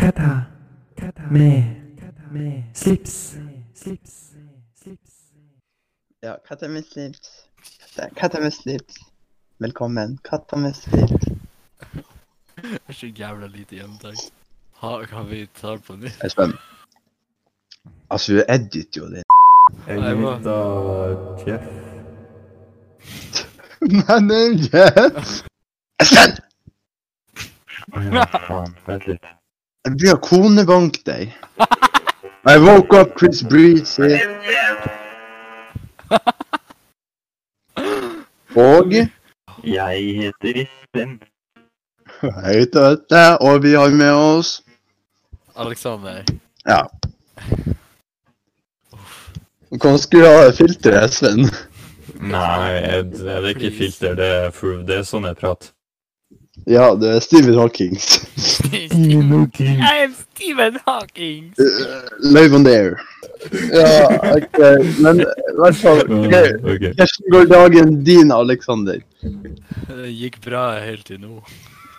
Kata med slips. Ja, katter med slips. Katter- Katter med slips. Velkommen. Katter med slips. Det er så jævla lite gjennomtak. Ha- Kan vi ta det på nytt? Espen. Altså, du edit jo det. Jeg må- Jeff. My name yes. Espen! Ja, faen, vent litt. Jeg blir konebank deg. I woke up Chris Breezy. Og Jeg heter Espen. jeg heter Øtte, og vi har med oss Alexander. Ja. Hvordan skulle du ha filteret, Sven? Nei, jeg, det er ikke filter, det er, full- det er sånn jeg prater. Ja, det er Stephen Hawkings. I am Stephen Hawking! Live on the air. Ja, ok. Men i hvert fall Mm. ok. Ok. Hvordan går dagen din, Alexander? Det gikk bra helt til nå.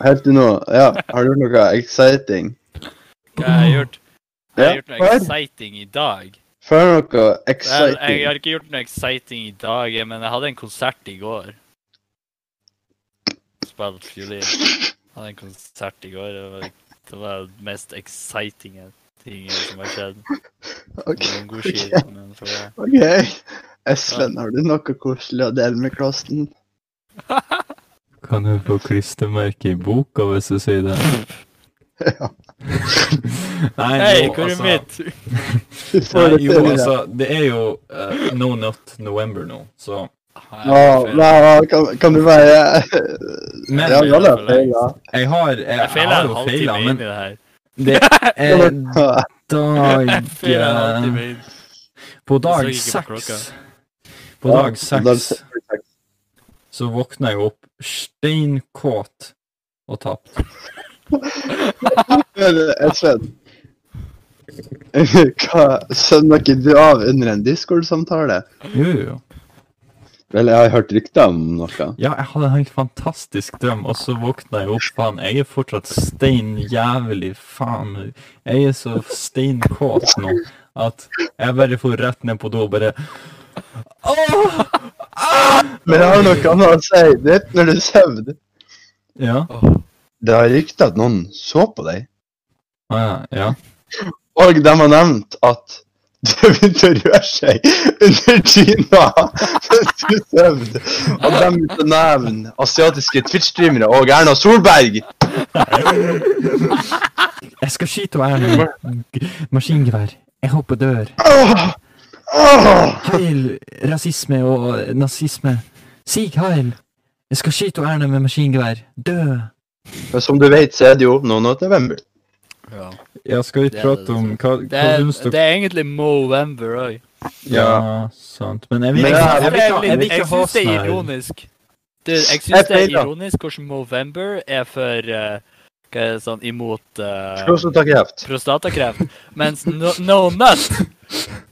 Helt til nå? Ja, har du noe exciting? Hva har jeg gjort? Jeg har gjort noe hør. exciting i dag. Før noe Vel, jeg exciting. har ikke gjort noe exciting i dag, men jeg hadde en konsert i går. Spilt fiolin. Hadde en konsert i går. Det var det var det mest exciting tingen som har skjedd. Ok, Noen god ok, skit, men for det. ok. Espen, har du noe koselig å dele med klassen? Kan du få klistremerke i boka hvis du sier det? Ja. Nei, Hei, jo, hvor er altså- mitt? Du får Nei, det jo, til i dag. altså, det er jo eh, No Not November nå, så Ja, Jeg nei, ja, kan, kan du bare Men Ja, jeg alle har feila. har, jeg, jeg feiler har en jo halvtime feila, inn men i det her. det Eh, er Jeg feiler en dag halvtime inn. På Jeg så dag ikke på klokka. seks På dag seks så våkna jeg opp steinkåt og tapt. Men, eh, Espen, hva sønner ikke du av under en Discord-samtale? Jo, jo, jo. Vel, jeg har hørt rykter om noe. Ja, jeg hadde en helt fantastisk drøm, og så våkna jeg opp, faen. Jeg er fortsatt stein jævlig, faen. Jeg er så steinkåt nå at jeg bare for rett ned på do og bare Åh! Men jeg har noe annet å si. Det er når du sover. Ja. Det har rykter at noen så på deg, Ah, ja. og de har nevnt at du begynte å røre seg under dyna mens du sov. Og de begynte å nevne asiatiske Twitch-streamere og Erna Solberg. Jeg skal skyte og ærlig. Maskingevær. Jeg håper dør. Åh! Åh! Heil rasisme og eh, nazisme. Sig heil! Jeg skal skyte og erne med maskingevær. Dø! Men som du vet, så er det jo noen av november. Ja. Ja, skal vi Det er prate det, om hva, Det, hva er, syns dere det er egentlig Movember òg. Ja, sant. Men jeg vil Men ikke jeg- jeg vil ikke- jeg vil ikke Jeg ha syns det er sånn her. ironisk. Du, jeg Jeg syns det er feiler. ironisk hvordan Movember er for eh, hva er det sånn imot eh, Prostatakreft. prostatakreft, mens no, no nut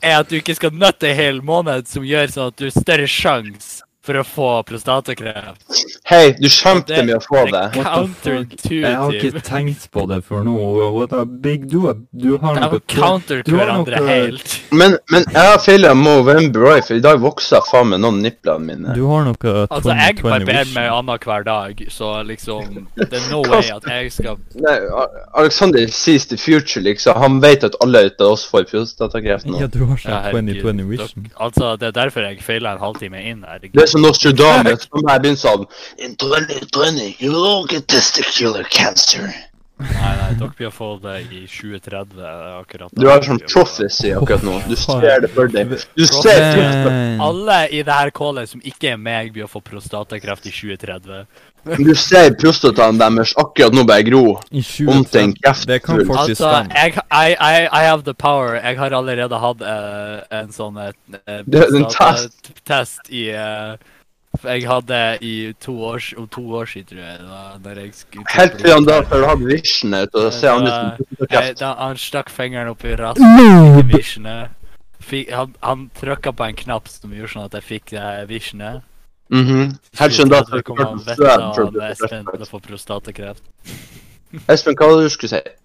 er at du ikke skal nutte en hel måned, som gjør sånn at du har større sjanse for å få prostatakreft. Hei, du skjemte Det- med å få det. Det er Jeg har ikke counterintuitive. tenkt på det før nå. What a big du er- Du har De noe counter du har eh, noe- hverandre helt. Men, men jeg har feila Movember òg, for i dag vokser faen meg noen niplene mine. Du har noe Altså, jeg 2020 barberer vision. meg annenhver dag, så liksom Det er no way at jeg skal Nei, A- Alexander sees the future, liksom. Han vet at alle ut av oss får prostatakreft nå. Ja, du har Ja, sånn herregud, 2020 dere- vision. Altså, det er derfor jeg feila en halvtime inn. Det er som Nostradamus som her begynner sånn In 2020, you will all get testicular cancer. Nei, nei, dere blir å få det i 2030 akkurat. Du har sånn prophecy akkurat nå. Du ser det for deg. Du ser, Men Alle i det her callet som ikke er meg, blir å få prostatakreft i 2030. du ser prostataen deres akkurat nå bare gro. i Om til en 2030 Det kan kreftfull faktisk Altså, stemme. jeg, I, I, I have the power. Jeg har allerede hatt eh, en sånn eh, eh, Det er en prostata- test i eh, Jeg hadde i to år, om to år siden, tror jeg. Da, når jeg skulle Helt til han da får ha vision ut og ser han ut som Jeg, prostatakreft. da han stakk fingeren opp i rassen i visionet. Fikk, han han trykka på en knapp som gjorde sånn at jeg fikk eh, visionet. Mhm. Helt til han da Så får kom han han vettet svøm av fra Espen til prostatakreft. å få prostatakreft. Espen, hva var det du skulle si?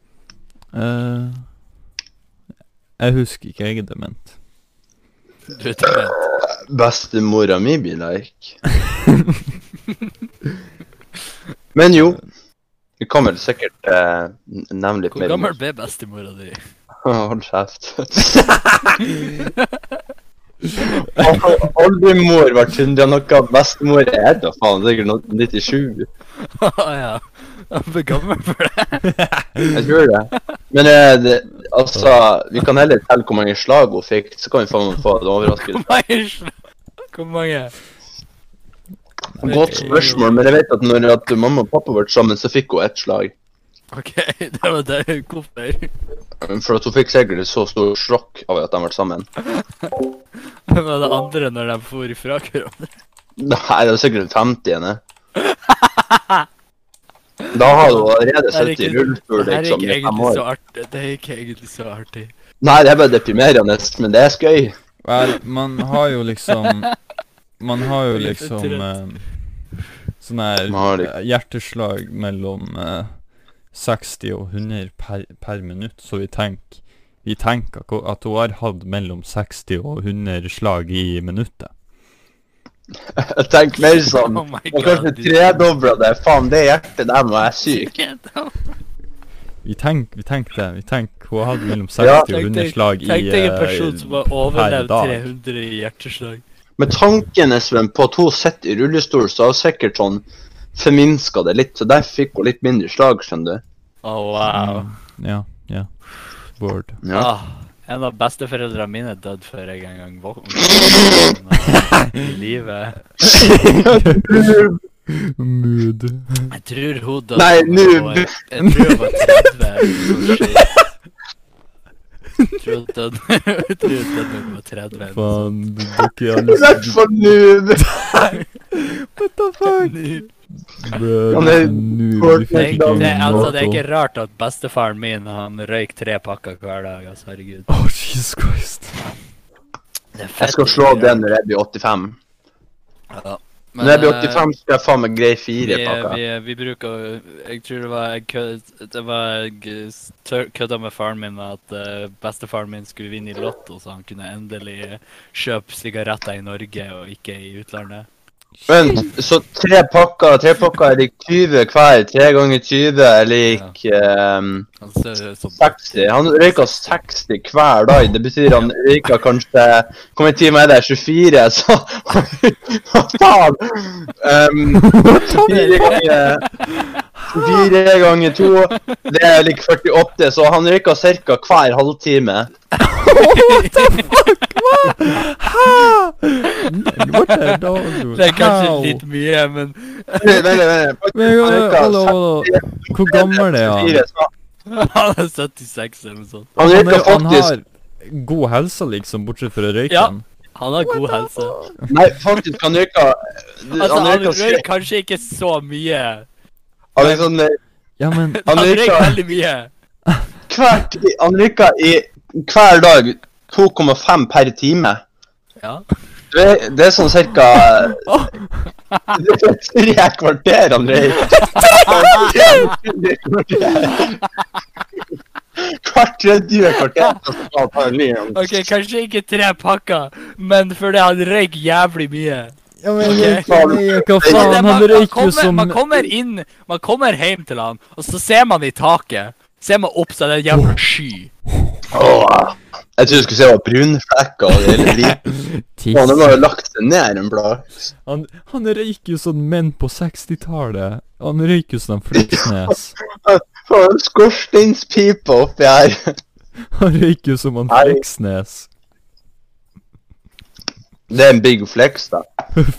Eh, jeg husker ikke jeg er dement. Du er dement. Bestemora mi blir like. Men jo. Vi kan vel sikkert eh, n- nevne litt Hvor mer om- gammel ble bestemora di? Hold kjeft. Oldemor var 100 og noe. Bestemor er da faen sikkert no- 97. Å ja. Han ble gammel for det. Jeg tror det. Men eh, det, altså, vi kan heller telle hvor mange slag hun fikk, så kan vi faen meg få en overraskelse. Hvor mange? Hvor mange? Godt spørsmål, men jeg vet at når at mamma og pappa ble sammen, så fikk hun ett slag. OK, det var det. Hvorfor? For at hun fikk sikkert et så stort sjokk av at de ble sammen. Hvem var det andre når de for ifra hverandre? Nei, det var sikkert 50 henne. Da har hun allerede Det er sittet i ikke- rullestol det her er liksom, i ikke fem egentlig år. så artig. Det er ikke egentlig så artig. Nei, det er bare deprimerende, men det er skøy. Vel, man har jo liksom Man har jo Litt liksom trøtt. eh, sånn her Man har litt- eh, hjerteslag mellom eh, 60 og 100 per, per minutt, så vi tenker vi tenker ko- at hun har hatt mellom 60 og 100 slag i minuttet. Jeg tenker mer sånn Oh my Og kanskje tredobla det. Faen, det hjertet der må være sykt. Vi tenker vi tenker det. Vi tenker hun har hatt mellom 60 Ja. og 100 slag i Tenk deg en person eh, som har per overlevd dag. 300 i hjerteslag. Men tanken Espen, på at hun sitter i rullestol, så har hun sikkert sånn forminska det litt. Så der fikk hun litt mindre slag, skjønner du. Å, wow. Mm. Ja. ja. Word. Ja. Ah, en av besteforeldrene mine døde før jeg engang våkna i livet. Mood. Jeg tror hun døde Nei, da hun nå- var- Jeg tror hun var 30. eller noe sånt. Jeg tror hun døde jeg tror hun døde da hun var 30. eller noe Faen, du dukker i I hvert fall nå. What the fuck? sånt. Bro, Han er- nu, vi fikk Tenk, ikke det, altså, det er noe. ikke rart at bestefaren min han røyk tre pakker hver dag. altså, Herregud. Åh, Oh, Jesus Christ. Det er fett Jeg skal å slå gjøre. det når jeg blir 85. Ja. Når jeg blir eh, 85, skal jeg faen meg greie fire Vi, pakker. vi, vi bruker Jeg tror det var jeg kød- Det var jeg s- tør- kødda med faren min med at eh, bestefaren min skulle vinne i Lotto, så han kunne endelig kjøpe sigaretter i Norge og ikke i utlandet. Men så tre pakker tre pakker er lik 20 hver. Tre ganger 20 er lik ehm, Han ser ut som 60. Han røyka 60 hver dag. Det betyr han røyka kanskje Hvor mange timer er det? 24? Så Hva faen? Um, fire ganger Fire ganger to, det er lik 48, så han røyka ca. hver halvtime. What the dog? Det er kanskje litt mye, men Nei, nei, nei, nei. Han Men, uh, røyka hallo, hallo. Hvor gammel er han? 64, så han er 76 eller noe sånt. Han Han, røyka er, han faktisk har god helse, liksom, bortsett fra Ja. røyken. Han har god helse. Nei, faktisk, han røyka Altså, Han han røyka røyk kanskje ikke så mye. han røyka sånn, eh, Ja, men Han Han røyk røyka- veldig mye. hver ti- Han røyka i hver dag 2,5 per time. Ja. Det, det er sånn cirka Det er tre kvarter, André. Tre kvarter. Hvert tredje kvarter. så skal han ta en ny en. OK, kanskje ikke tre pakker, men fordi han røyk jævlig mye. Ja, men Ok. Det er jeg- Hva faen? det, Han man, man, røyker jo kommer, som man kommer inn, man kommer hjem til han, og så ser man i taket. Ser man opp, så er det en jævla sky. Åh. Jeg trodde du skulle se hva brunflekker og hele livet. Han har jo lagt seg ned en plass. Han, han røyker jo sånn menn på 60-tallet. Han røyker jo sånn Fleksnes. Faen, Skorsteinspipe oppi her. Han røyker jo som han Nei. Fleksnes. Det er en big flex, da.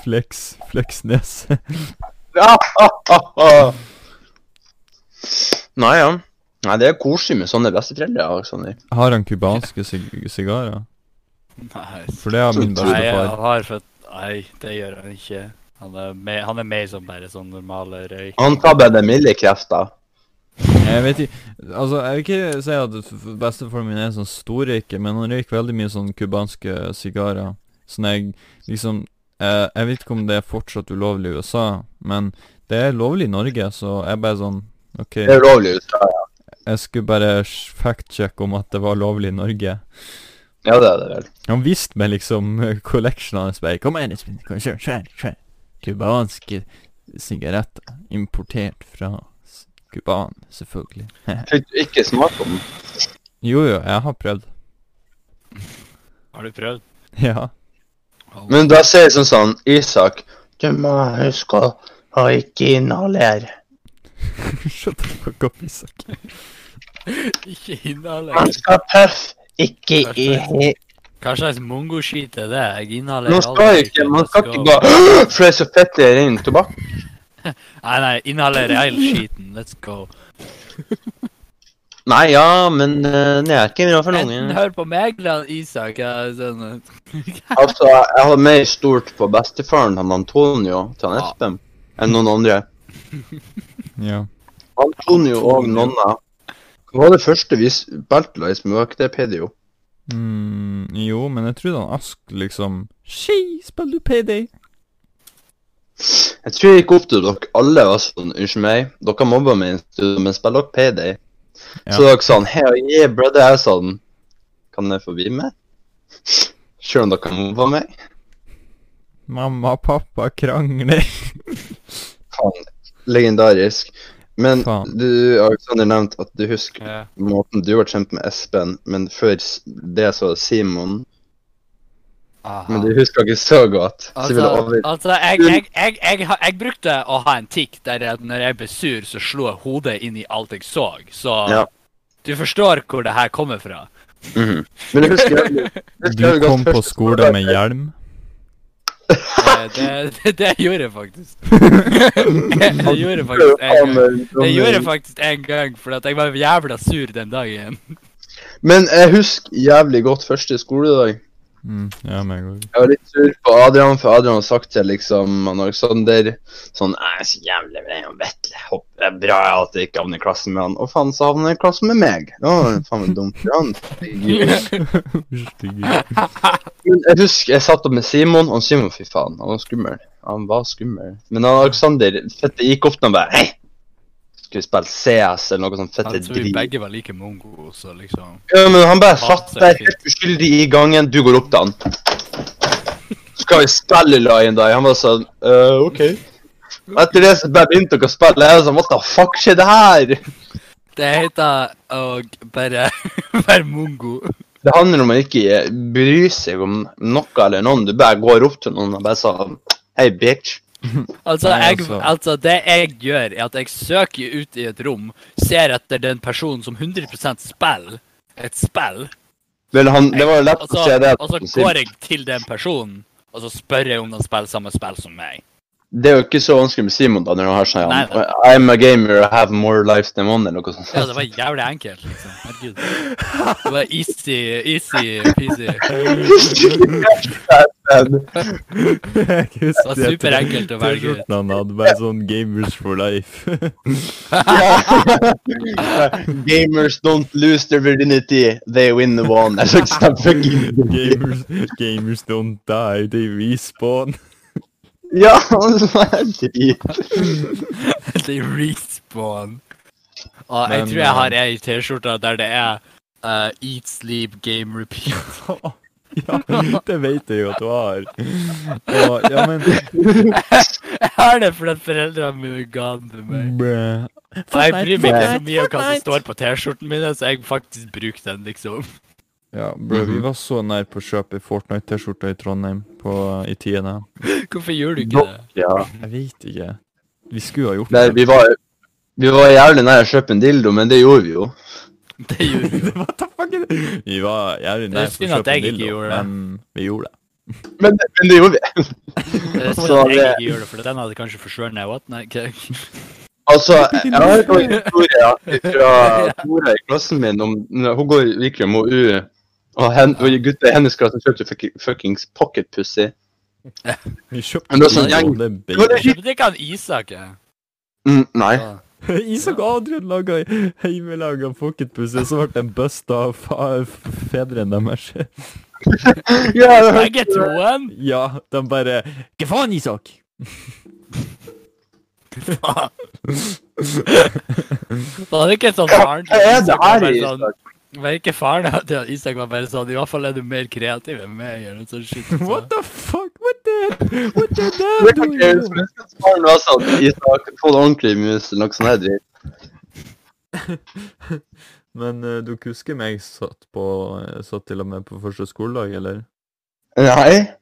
Flex, Fleksnes. Ah, ah, ah, ah. Nei, ja. Nei, det er koselig med sånne besteforeldre. Alexander. Har han kubanske sig sigarer? Nei, For det har min nei bestefar. han har fått Nei, det gjør han ikke. Han er mer, han er mer som bare sånn normale røyk. Han tar bedemillekrefter. Jeg vet ikke Altså, jeg vil ikke si at f- f- bestefaren min er sånn storrøyker, men han røyker veldig mye sånn kubanske sigarer. Sånn jeg liksom eh, Jeg vet ikke om det er fortsatt ulovlig i USA, men det er lovlig i Norge, så jeg bare sånn OK. Det er ulovlig. i USA. Jeg skulle bare fact-sjekke om at det var lovlig i Norge. Ja, det er det vel. Han viste meg liksom eh, collectionen hans. bare, Kom her, Espen. Kom, kjør, kjør, kjør. Kubanske sigaretter. Importert fra s- Kuban, selvfølgelig. Fikk du ikke smake på den? Jo, jo, jeg har prøvd. Har du prøvd? Ja. Oh. Men da sier jeg sånn sånn, Isak Du må huske å ikke inhalere. Shut the fuck up, Isak. Ikke inhaler. Man skal puff, ikke i Hva slags mongoskit er det? Jeg inhalerer Nå skal jeg aldri, ikke, man skal ikke gå- bare For det er så fett det er ren tobakk. Nei, nei, inhalerer hele skiten. Let's go. Nei, ja, men eh, det er ikke bra for Enten noen. hør på meg eller Isak. Jeg, er sånn, Altså, jeg har mer stort på bestefaren han Antonio til han Ja. Espen enn noen andre. Ja. Antonio og Nonna. Hva var det første vi spilte live med? Var ikke det Pedio? Mm, jo, men jeg trodde han Ask liksom Ski, spiller du PD? Jeg tror jeg gikk opp til dere alle og var sånn Unnskyld meg, dere mobba meg i studio, men spiller dere Payday? Så Ja. dere sa Hei, yeah, brother. Jeg sa den. Kan jeg få bli med? Sjøl om dere mobba meg? Mamma og pappa krangler. Faen. Legendarisk. Men Faen. du, Alexander, nevnte at du husker ja. måten du ble kjent med Espen, men før s- det så var det Simon. Men du Aha. husker ikke så godt. Så vil Ah. Altså, jeg over... altså jeg, jeg, jeg, jeg, ha- jeg brukte å ha en tikk der at når jeg ble sur, så slo jeg hodet inn i alt jeg så. Så Ja. du forstår hvor det her kommer fra. Mhm. Men jeg husker jævlig- jeg husker Du jævlig godt kom på første skolen skoledag. med hjelm. Eh, Det, det, det gjorde jeg faktisk. Det gjorde jeg faktisk en gang. Det gjorde eh, jeg faktisk en gang, for at jeg var jævla sur den dagen. Men jeg husker jævlig godt første skoledag. Mm, ja, men jeg går. Jeg var litt sur på Adrian, for Adrian har sagt til liksom han Alexander sånn Jeg er så jævlig vrei om Vetle. Håper det er bra at jeg ikke havner i klassen med han. Og faen, så havner jeg i klassen med meg. Det var faen meg dumt for han. Stygg. Men jeg husker jeg satt opp med Simon, og Simon, fy faen, han var skummel. Han var skummel. Men han Alexander fette gikk opp til han bare Hei! Skal vi spille CS eller noe sånt fette Jeg tror vi drit? begge var like mongo, så liksom Ja, men han bare satt Masse der fint. helt uskyldig i gangen. Du går opp til han. Skal vi spille Lion Day? Han bare sånn «Øh, OK. Og Etter det så bare begynte dere å spille. Jeg var sånn What the fuck skjedde her? Det heter å bare være mongo. Det handler om å ikke bry seg om noe eller noen. Du bare går opp til noen og bare sånn Hei, bitch. Altså, Nei, jeg, altså. altså, det jeg gjør, er at jeg søker ut i et rom, ser etter den personen som 100 spiller et spill, Vel, han, det var jo lett og å se så, det. og så går jeg til den personen, og så spør jeg om de spiller samme spill som meg. Det er jo ikke så vanskelig med Simon da, når han har sånn Nei, nei. I'm a gamer I have more lives than one, eller noe sånt. Ja, det var jævlig enkelt, liksom. Herregud. Det var easy, easy peasy. Jeg Det var superenkelt å velge ut. Han hadde bare sånn Gamers for life. Gamers don't lose their virginity, they win the one. Jeg skal ikke snakke fucking gamers, gamers don't die, they respawn. Ja, altså, det er drit. Det er respawn. Og jeg Men, tror jeg har eh, ei T-skjorte der det er eh, Eat, sleep, game, repeat. ja, det vet jeg jo at du har. Og, ja, men Jeg har det fordi at foreldrene mine ga den til meg. Bæ. Og jeg bryr meg ikke så Fortnite, mye om hva som Mm. Fortnite. står på T-skjorten min, så jeg faktisk bruker den, liksom. Ja, bro, vi var så nær på å kjøpe Fortnite-T-skjorta i Trondheim på, i tiende. Hvorfor gjør du ikke det? Ja. Jeg vet ikke. Vi skulle ha gjort Nei, det. vi var, vi var jævlig nær å kjøpe en dildo, men det gjorde vi jo. Det gjør du. Det var ta fucking Vi var jævlig er nær på å synd at jeg kjøpe en ikke dildo, gjorde det. men vi gjorde det. Men, men det gjorde vi. Det er sånn Så at jeg det- ikke gjør det, for den hadde kanskje forsvunnet. What? Nei, hva- Altså, jeg har hørt noen historier fra Tora i klassen min om når Hun går virkelig om OU, og, hen, og gutta i hennes klasse kjøpte fucking- fuckings pocket pussy. Vi kjøpte Men det er sånn dildo, gjeng- det er Det var det bacon. Kjøpte ikke han Isak, jeg? Mm, nei. Ja. Isak og Adrian laga hjemmelaga pocketpussy, og så ble den busta av fa- f- fedrene deres. Ja, jeg har hørt- Begge toen? Ja, de bare Hva faen, Isak? Faen. Så han er ikke sånn Hva faren til er det Isak, var her bare i sånn- Isak? var ikke faren til Isak var bare sånn I hvert fall er du mer kreativ enn meg. Eller noe sånt shit. altså. What the fuck? What the What the Det dad kan ikke jeg huske. doing? Jeg skal svare noe sånt. Isak, få det ordentlig i musen, noe sånt her dritt. Men eh, du husker meg satt på eh, Satt til og med på første skoledag, eller? Nei?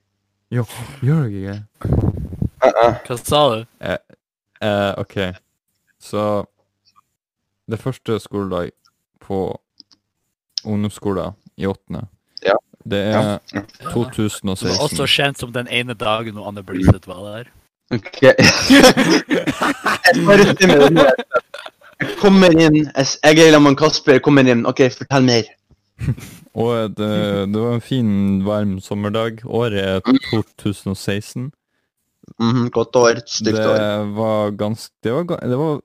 Jo, gjør jeg ikke? Uh -uh. Hva sa du? Eh, OK. Så Det første skoledag på ungdomsskolen i åttende, Ja. det er Ja. Som er 2016. også kjent som den ene dagen når Anne Bliseth var der. Ok. Jeg bare sier meg det her. Jeg kommer inn, jeg s- jeg er sammen med Kasper, jeg kommer inn. OK, fortell mer. Og det, det var en fin, varm sommerdag. Året er 2016. Mhm, godt år, stygt år. Det var ganske Det var, ga- det var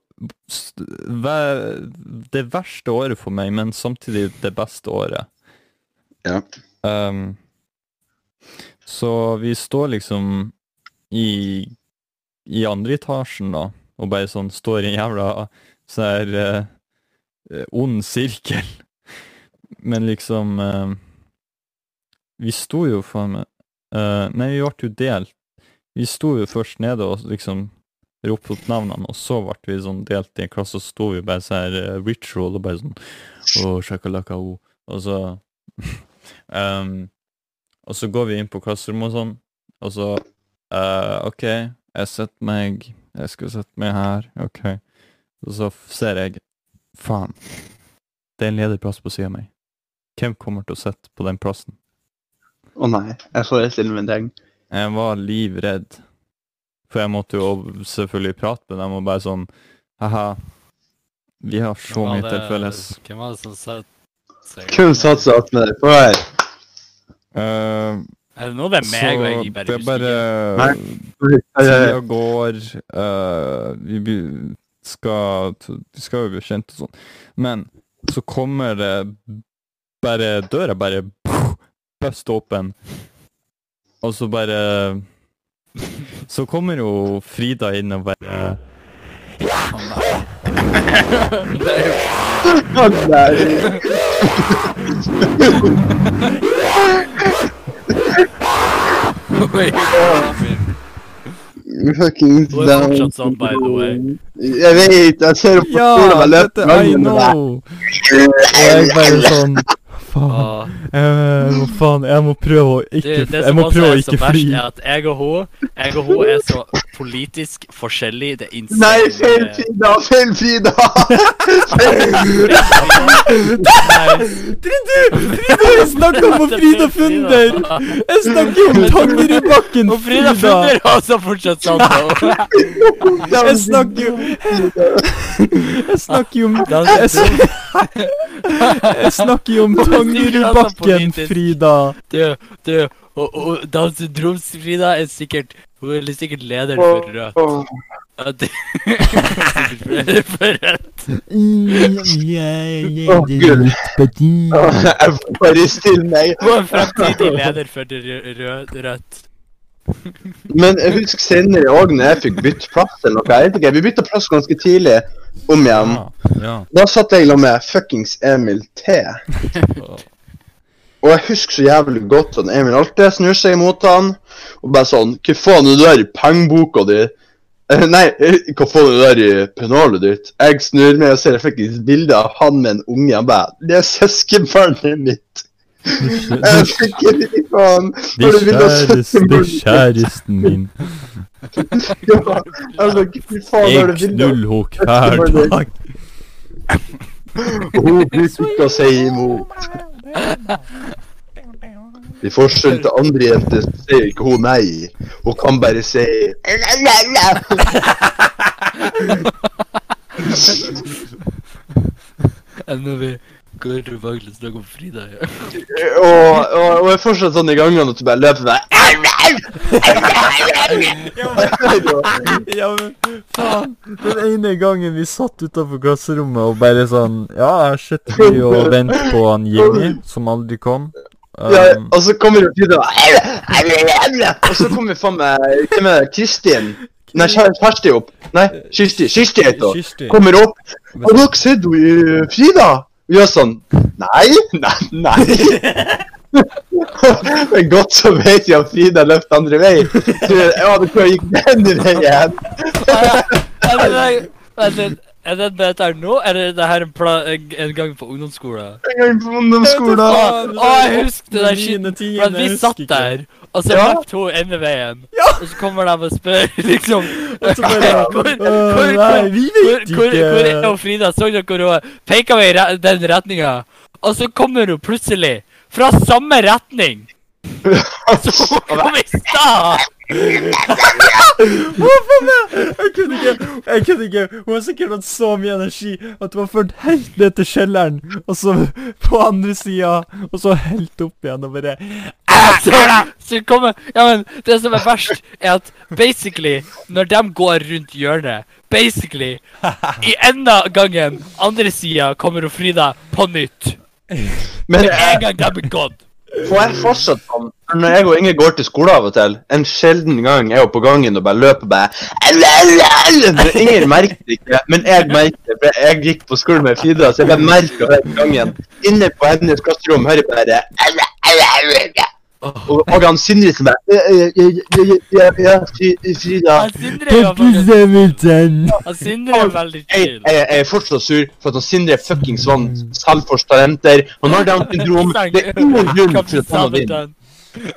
s- ve- det verste året for meg, men samtidig det beste året. Ja. Ehm, så vi står liksom i, i andre etasjen, da, og bare sånn står i en jævla sånn her eh, eh, ond sirkel. Men liksom eh, Vi sto jo faen meg eh, Nei, vi ble jo delt. Vi sto jo først nede og liksom ropte opp navnene, og så ble vi sånn delt i en klasse, og så sto vi bare sånn her eh, ritual og bare sånn Å, shakalaka, o. Og så Ehm, og så går vi inn på klasserommet og sånn, og så eh, OK, jeg setter meg Jeg skal sette meg her, OK. Og så f- ser jeg Faen. Det er en ledig plass på sida av meg. Hvem kommer til å sitte på den plassen? Å nei, jeg forestiller meg en ting. Jeg var livredd. For jeg måtte jo selvfølgelig prate med dem og bare sånn Haha, vi har så mye til felles. Hvem var det som sa Hvem satser alt med deg? Få høre. Eh, Er det noe det er meg og jeg bare det er husker bare ikke? Nei. Tida går, eh, vi be- skal, t- vi skal jo bli kjent og sånn. Men så kommer det bare Døra bare bust åpen, og så bare Så kommer jo Frida inn og bare Å nei. Fucking Du er fortsatt sånn, by the way. Jeg vet, jeg ser på skolen Ja, og dette løper I med deg. know! Og jeg bare sånn Faen. Åh. Jeg må, faen, jeg må prøve å Det, ikke det Jeg som må også prøve å er så ikke verst, fly. er at jeg og hun jeg og hun er så politisk forskjellige. Det er insane. Nei, feil Eh. Frida, feil Frida! Feil. Nei, Jeg snakker om Frida Funder! Jeg snakker om Tangerud i bakken, Og Frida Funder er også fortsatt sånn. da. Jeg snakker jo Jeg snakker jo om Jeg s- jeg snakker jo om Tangerud i bakken, Frida. Du, du, og, og Downs syndroms-Frida er sikkert Hun er sikkert leder for Rødt. Ja, det- Leder for Rødt. Å, Gud. Jeg får bare stille meg. Hun er fremtidig leder for det rø- rø- Rødt. Men jeg husker senere òg, når jeg fikk bytte plass eller noe. Jeg vet ikke, Vi bytta plass ganske tidlig om igjen. Da satt jeg sammen med fuckings Emil T. Og jeg husker så jævlig godt at Emil alltid snur seg imot han, og bare sånn Hva faen er det der i pengeboka di? Eh, Nei, eh, hva faen er det der i pennalet ditt? Jeg snur meg og ser faktisk bilde av han med en unge. Han bare Det er søskenbarnet mitt. Jeg fikk ikke faen. De Når du vil ha kjæreste, søskenbarn- kjæresten min. Ja, jeg bare, Fy faen, når Jeg du vil ha knuller henne hver dag. Hun bruker ikke å si imot. I forskjell til andre jenter så sier ikke hun nei. Hun kan bare si la-la-la. Enda vi går tilbake til å snakke om Frida. Ja. Og, og, og jeg er fortsatt sånn i gangene at du bare løper der. Ja, men faen. Den ene gangen vi satt utafor klasserommet og bare sånn Ja, jeg sitter vi og venter på han Jimmy, som aldri kom. Um, Ja, og så kommer hun til og så kommer faen meg Hvem er det? Kristin? Nei, Kjer- Kjersti opp. Nei, Kirsti. Kirsti heter hun. Kirsti. Kommer opp. Har dere sett hun, eh, Frida? Og gjør sånn. Nei, nei, nei. Men godt så vet jeg at Frida løfter andre vei. Så, ja, det kunne gikk den veien. Er det, er det dette her nå? Er det, det her en, pla en en gang på ungdomsskolen? En gang på ungdomsskolen. Å, jeg husker det der skitten. Niende, tiende, For at vi jeg satt husker ikke. der, og så Ja. løp hun ende veien. Og så kommer de og spør, liksom Og så bare, Hvor- hvor- «Åh, hvor- Nei, vi Hvor, vet hvor, hvor er ikke. hun Frida? Så dere hvor hun peka i re den retninga? Og så kommer hun plutselig fra samme retning! Så hun kom i stad! Hvorfor meg? Jeg kunne ikke. jeg kunne ikke. Hun har sikkert hatt så mye energi at hun har ført helt ned til kjelleren, og så på andre sida, og så helt opp igjen og bare Så, så kommer Ja, men det som er verst, er at basically, når de går rundt hjørnet Basically, i enda gangen, andre sida, kommer hun Frida på nytt. Men Med en jeg gang de er gått. får jeg fortsatt sånn. For Når jeg og Inge går til skolen av og til, en sjelden gang er hun på gangen og bare løper bare «Au, au, au!» Men Inger merker det ikke, men jeg merker det. For jeg gikk på skolen med Frida, så jeg bare merker det i gangen. Inne på hennes klasserom hører jeg bare «Au, au, au, au!» Og, og han Sindre som bare «Eh, eh, eh, eh, ja, ja, Fri- Frida. Han Sindre var faktisk Han Sindre er veldig Jeg, chill. jeg, jeg er fortsatt sur for at han Sindre fuckings vant selvforstalenter. Han har Downs syndrom. Det er ingen grunn til at han har vunnet. Kaptein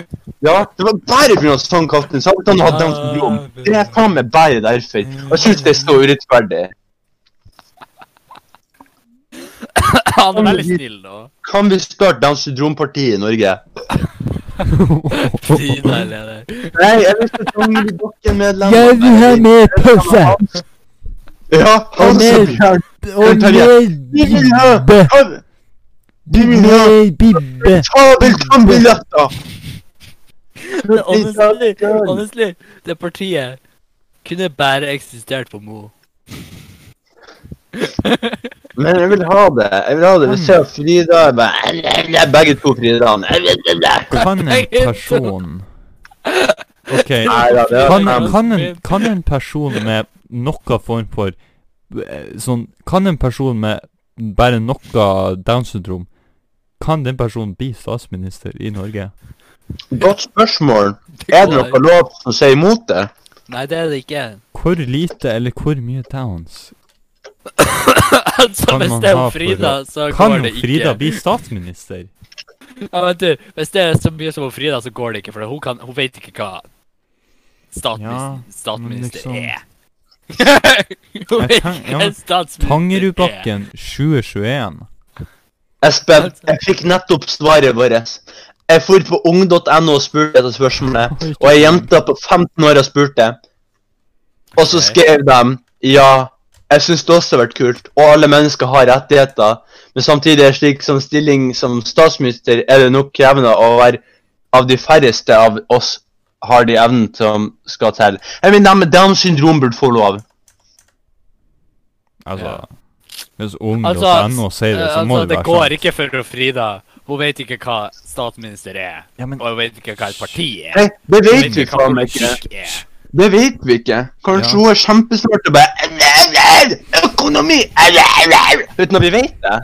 Ja, det var bare pga. at han kalte den Sabeltann og hadde Downs syndrom. Det er faen meg bare derfor. Og jeg synes det er så urettferdig. Han er veldig snill, da. Kan vi starte Downs syndrom-partiet i Norge? Frida er leder. Nei, jeg vil ikke Dongeli Dokken-medlem. Jeg vil ha med pølse Ja, han som gjør og med Vi vil ha bibbe. han- Vi vil ha Med bibbe. Sabeltann-billetter! Men honestly, honestly, det partiet kunne bare eksistert på Mo. Men jeg vil ha det. Jeg vil ha det. Vi ser Frida jeg bare, Begge to Fridaene. Kan en person OK. Nei da, det er Kan, men- kan, en, kan en person med noe form for eh, sånn Kan en person med bare noe Downs syndrom Kan den personen bli statsminister i Norge? Godt spørsmål. Er det noe lov som sier imot det? Nei, det er det ikke. Hvor lite eller hvor mye Downs? Altså, Kan hvis man det er ha jo Frida, så Kan går jo det Frida ikke. bli statsminister? Ja, vent du, Hvis det er så mye som hun Frida, så går det ikke, for hun, kan, hun vet ikke hva Ja, statsminister, statsminister liksom- er. hun Jeg vet kan- ja, ikke hva men statsminister er. Tangerudbakken 2021. Espen, jeg fikk nettopp svaret vårt. Jeg for på ung.no og spurte etter spørsmålet, og ei jente på 15 år har spurt det. Og så skrev de ja, jeg syns det også har vært kult, og alle mennesker har rettigheter, men samtidig er slik som stilling som statsminister er det nok krevende å være av de færreste av oss har de evnen som skal til. Jeg mener, de med Downs syndrom burde få lov. Altså Ja. Hvis Altså, ung.no sier det, så må altså, det være sånn. går sant. ikke for Frida. Hun vet ikke hva statsminister er. Ja, men Og hun vet ikke hva et parti er. Nei, det Hun vet vi faen meg ikke. politikk er. Det vet vi ikke. Kanskje Ja. hun er kjempesmart og bare «Au, au, au, Økonomi! au, au, au», Uten at vi vet det.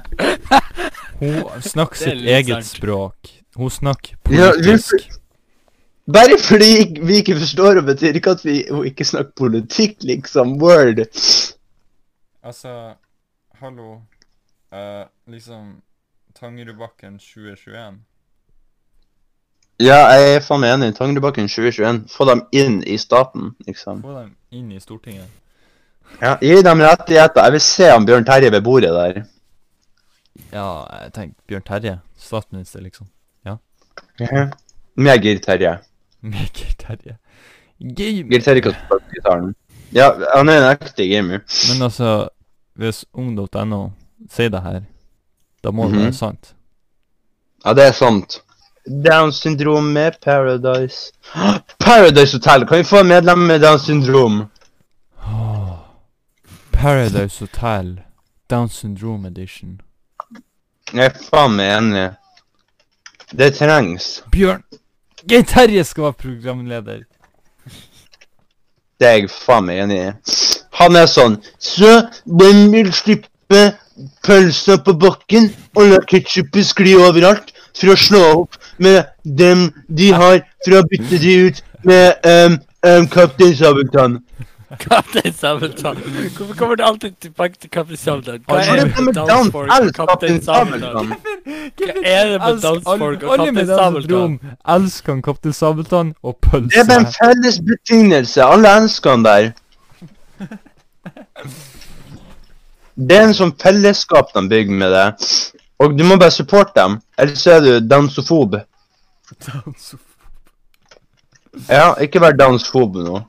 hun snakker Det er sitt litt eget sant. språk. Hun snakker Ja, vi- politisk. Bare fordi ikk- vi ikke forstår det, betyr ikke at vi hun ikke snakker politikk, liksom. Word. Altså, hallo Liksom Tangerudbakken 2021. Ja, jeg er faen meg enig. Tangerudbakken 2021. Få dem inn i staten, liksom. Få dem inn i Stortinget. Ja, Gi dem rettigheter. Jeg vil se om Bjørn Terje ved bordet der. Ja, jeg tenker Bjørn Terje. Statsminister, liksom. Med Geir Terje. Mikkel Terje. Geir Gamer. Terje kan spille gitaren. Ja, han er en ekte gamer. Men altså, hvis ung.no sier det her, da må det Mhm. være sant. Ja, det er sant. Down syndrom med Paradise. Paradise Hotel! Kan vi få en medlem med Down syndrom? Åh. Paradise Hotel, Down Syndrome Edition. Jeg er faen meg enig. Det trengs. Bjørn Geir Terje skal være programleder. Det er jeg faen meg enig i. Han er sånn Så hvem vil slippe pølsa på bakken og la ketsjupen skli overalt for å slå opp med dem de har, for å bytte de ut med um, um, Kaptein Sabeltann? Kaptein Sabeltann. Hvorfor kommer du alltid tilbake til Kaptein Sabeltann? Hva Har er du det det med med dans? dansfolk og Elsk Kaptein Kaptein Sabeltann? Sabeltann. Hva er det med dansfolk og Alle Kaptein med Downs Sabeltann? syndrom elsker han Kaptein Sabeltann og Det er bare en pølse. felles betingelse. Alle elsker han der. Det er en sånn fellesskap de bygger med det. Og du må bare supporte dem, ellers er du dansofob. Ja, ikke vær dansofob nå.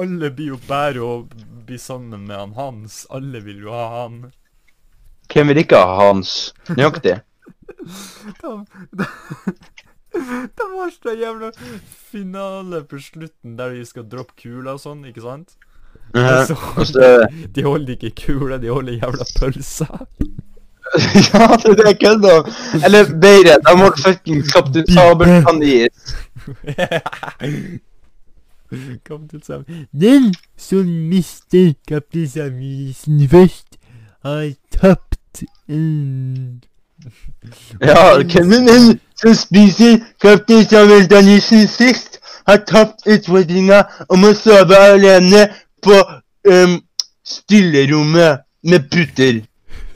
Alle blir jo bare å bli sammen med han Hans. Alle vil jo ha han. Hvem vil ikke ha Hans? Nøyaktig. Da- da- Det var så jævla finale på slutten der de skal droppe kula og sånn, ikke sant? Og Mhm. så- Og så- de holder ikke kula, de holder jævla pølser. Ja, det er det jeg kødder om. Eller bedre, de holdt fucking Kaptein Sabeltann i is. Kom til sammen. Den som mister kapteinsavisen først, har tapt en Ja, hvem er den som spiser Kaptein Sabeltann-isen sist, har tapt utfordringa om å sove alene på ehm, stillerommet med puter.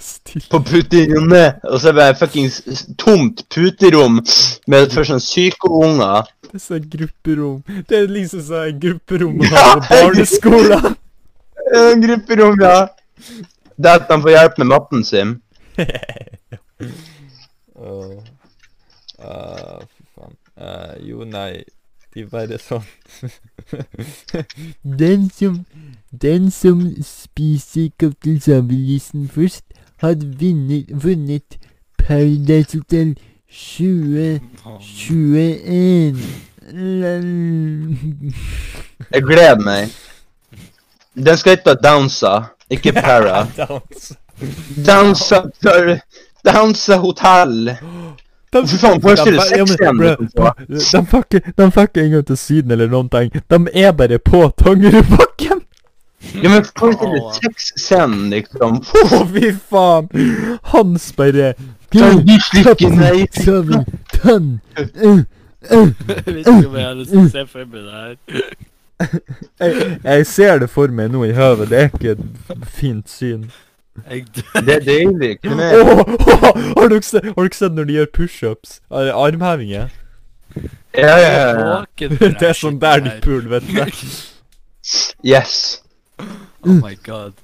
stille På puterommet. Og så er det bare fuckings tomt puterom med først sånn syke unger. sånn grupperom. Det er liksom sånn grupperom man Ja, har på barneskolen. En grupperom, ja. Det at han får hjelp med matten sin. Åh. Ah, fy faen. Eh, jo, nei. De bare sånn Den som Den som spiser Kaptein Sabeltissen først, har vunnet, vunnet Paradise Hotel Oh. 2021. Jeg gleder meg. Den skal hete Dansa, ikke Para. Dansa for Dansa hotell. Fy faen, forestill deg sexscenen liksom, du kan få. De fikk de fikk en gang til Syden eller noen ting. De er bare på Tangerudbakken! Ja, men forestill deg sexscenen, liksom. Å, fy faen! Hans bare Sånn, de slikker meg i Søvn, tønn Uh, Jeg vet ikke om jeg har lyst til Mm. å se for meg det her. jeg, jeg ser det for meg nå i høvet. Det er ikke et fint syn. Jeg Det er deilig. Hvem Åh, er det? har, dere sett, har dere sett når de gjør pushups? Ar- Armhevinger? Ja, ja, ja. våken for Det er sånn der de shit puler, vet du. Yes. her. Oh my god.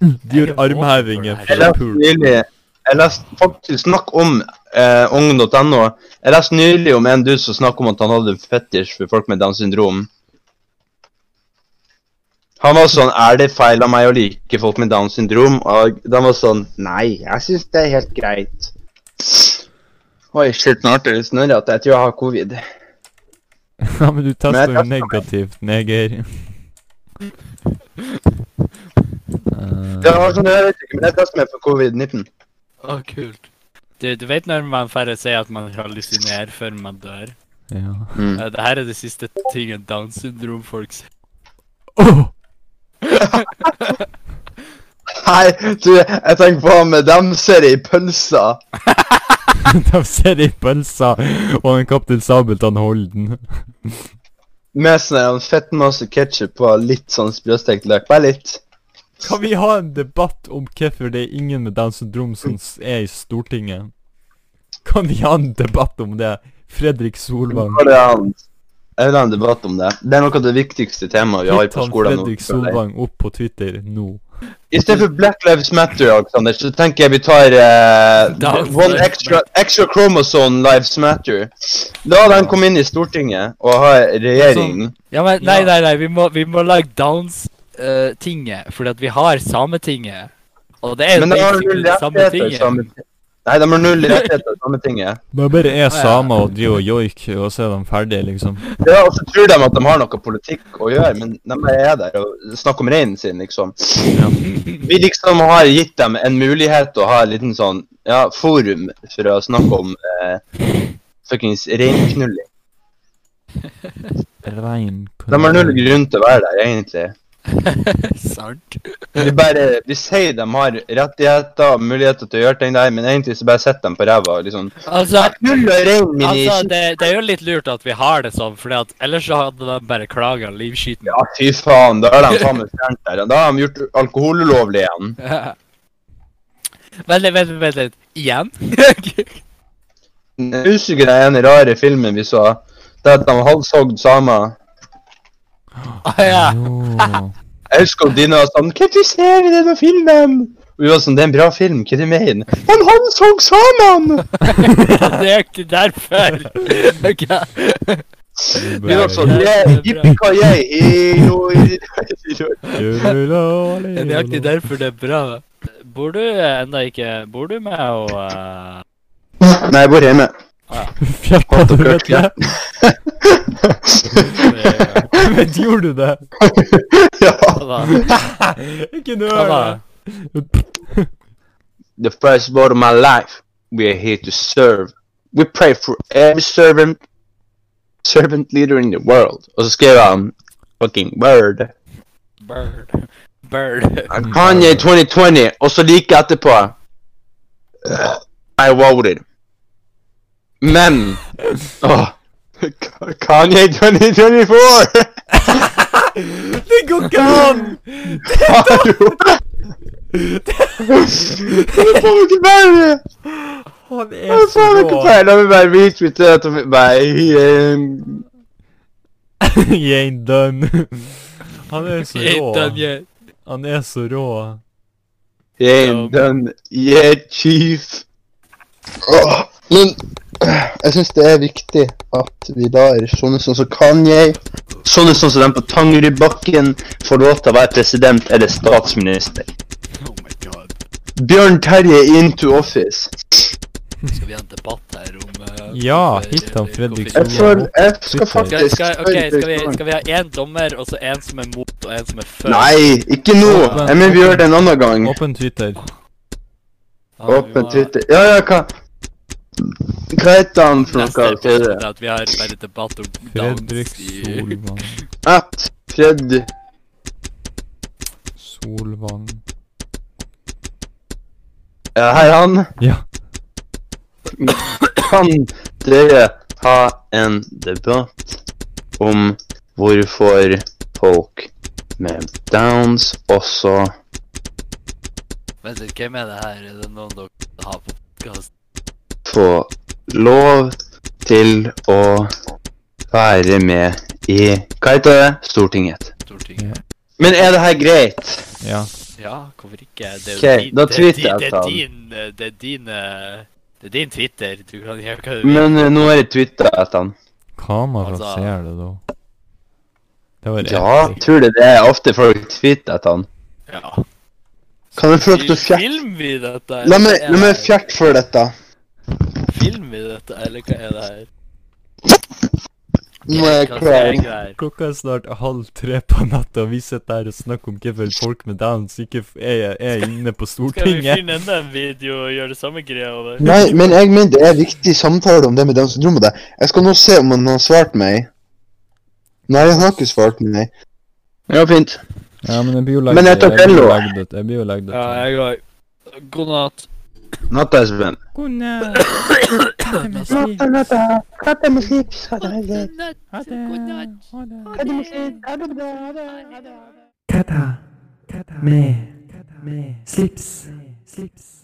De gjør armhevinger Jeg for å leste pule. nylig Jeg leste faktisk snakk om eh, ung.no. Jeg leste nylig om en dude som snakket om at han hadde en fetisj for folk med Downs syndrom. Han var sånn Er det feil av meg å like folk med Downs syndrom? Og de var sånn Nei, jeg syns det er helt greit. Oi, shit, nå ble det snørr at jeg tror jeg har covid. Ja, men Men du jeg tester jo tester meg. negativt, neger. Eh, Det var sånn, jeg vet ikke, men jeg testet meg for covid-19. Å, kult. Du, du vet når man færre sier at man hallusinerer før man dør? Ja. Mm. Eh, Det her er det siste tingen Downs syndrom-folk sier. Åh! Nei, du, jeg tenker på han med dem ser jeg i pølsa. De ser i pølsa, og en kaptein Sabeltann holder den. Med sånn her, en fett masse ketchup på litt sånn sprøstekt løk. Bare litt. Kan vi ha en debatt om hvorfor det er ingen med Downs syndrom som s- er i Stortinget? Kan vi ha en debatt om det? Fredrik Solvang. Går det an? Jeg vil ha en debatt om det. Det er noe av det viktigste temaet vi har Hitt på han skolen nå. Fredrik føler jeg. Solvang opp på Twitter nå. I stedet for Black Lives Matter, Alexander, så tenker jeg vi tar eh, Downs One Lives extra, extra Chromosome Lives Matter. La dem komme inn i Stortinget og ha regjering. Ja, men nei, nei, nei, vi må, vi må lage Downs-tinget, eh, fordi at vi har Sametinget. Og det er Men de har basically null det samme rettigheter. tinget. samme- Nei, de har null rettigheter, Sametinget. De bare er ja. samer og driver og joik, og så er de ferdige, liksom. Ja, og så tror de at de har noe politikk å gjøre, men de bare er der og snakker om reinen sin, liksom. Vi liksom har gitt dem en mulighet til å ha en liten sånn, ja, forum for å snakke om eh, fuckings reinknulling. rein De har null grunn til å være der, egentlig. Sant. De bare, de sier de har rettigheter og muligheter til å gjøre ting der, men egentlig så bare sitter de på ræva og liksom Altså, Null og rein, min altså altså, det, det er jo litt lurt at vi har det sånn, for ellers så hadde de bare klaga livskiten. Ja, fy faen, da har de faen meg fjernet der. Da har de gjort alkohol ulovlig igjen. vent litt, vent litt, vent litt. Igjen? Jeg husker den ene rare filmen vi så, det at de halshogd samer. ah, ja. Jeg husker at Dina var sånn Kritiser denne filmen! Og vi var sånn, det er en bra film, hva du mener? Men han så sammen! Det er ikke derfor. Ok. Vi var sånn, det er yeah, bra. yippee-ki-yay, hero. Det er nøyaktig derfor det er bra. Bor du ennå ikke Bor du med å eh, Nei, jeg bor hjemme. Fjerta du vet det? eh, Vet, gjorde du det? ja. hva da? Ikke nå! Hva da? The first word of my life, we are here to serve. We pray for every servant, servant leader in the world. Og så skrev han, fucking word. Bird. Bird. I'm Kanye 2020, og så like etterpå I voted. Men Åh, Kanye 2024! Det går ikke an! Hallo! Det får jo ikke være! Han er Det så får jo ikke rå. være! La meg bare retweete det til meg. You ain't done. Han er så Ethan, rå. yeah. Han er så rå. Yeah, done. Yeah, chief. Åh, Men jeg syns det er viktig at vi lar sånne sånn som Kanye, sånne sånn som den på Tangerudbakken, få lov til å være president eller statsminister. Oh my god. Bjørn Terje into office. Skal vi ha en debatt her om eh, Ja, hvorfor- hit han, Fredrik Jeg hvorfor- føler Jeg skal Skal, faktisk skal, ok, skal, vi, skal vi ha én dommer, og så én som er mot, og én som er for? Nei, ikke nå! Jeg mener vi gjør det en annen gang. Åpen Twitter. Ja, vi må- Åpen Twitter. Ja, ja, hva Hva heter han for Neste noe? Hva episode er er det? at vi har bare debatt om Fredrik downs i Solvang. At Fred Solvang. Ja, hei, han. Ja. Kan dere ha en debatt om hvorfor folk med downs også Vent litt, hvem er det her? Er det noen dere har på podkast? får lov til å være med i Hva heter det? Stortinget. Stortinget? Men er det her greit? Ja. Ja, hvorfor ikke? Det er Ok, din- da det er tweeter jeg sånn. din- det er til han. din, eh, Det er din eh, Det er din Twitter. Du kan gjøre hva du vil. Men eh, nå har jeg twitta etter han. Kamera Altså- ser det, da. Det var Ja, epic. tror du det er ofte folk twitter etter han? Ja. Kan jeg få lov til å Vil- fjerte Film vi dette? La eller meg, hva er la meg det her? fjerte for dette. Film vi dette, eller hva er det her? Nå er jeg Hva klar. ser jeg her? Klokka er snart halv tre på natta, og vi sitter her og snakker om hvorfor folk med downs ikke f- er, er inne på Skal vi Stortinget. finne enda en video og gjøre det samme greia over? Nei, men jeg mener det er viktig samtale om det med dem som tror på det. Jeg skal nå se om han har svart meg. Nei, han har ikke svart meg. Ja, fint. Ja, men jeg blir jo lagd- Men jeg tar jeg blir jo fello. lagd Jeg blir jo lagd Ja, jeg òg. God natt. Natta er spent. Ha natta. Katt er musik. Katt er musik. det. Katt er musik. Ha det bra. Ha det. Ha det. Kata med slips. slips.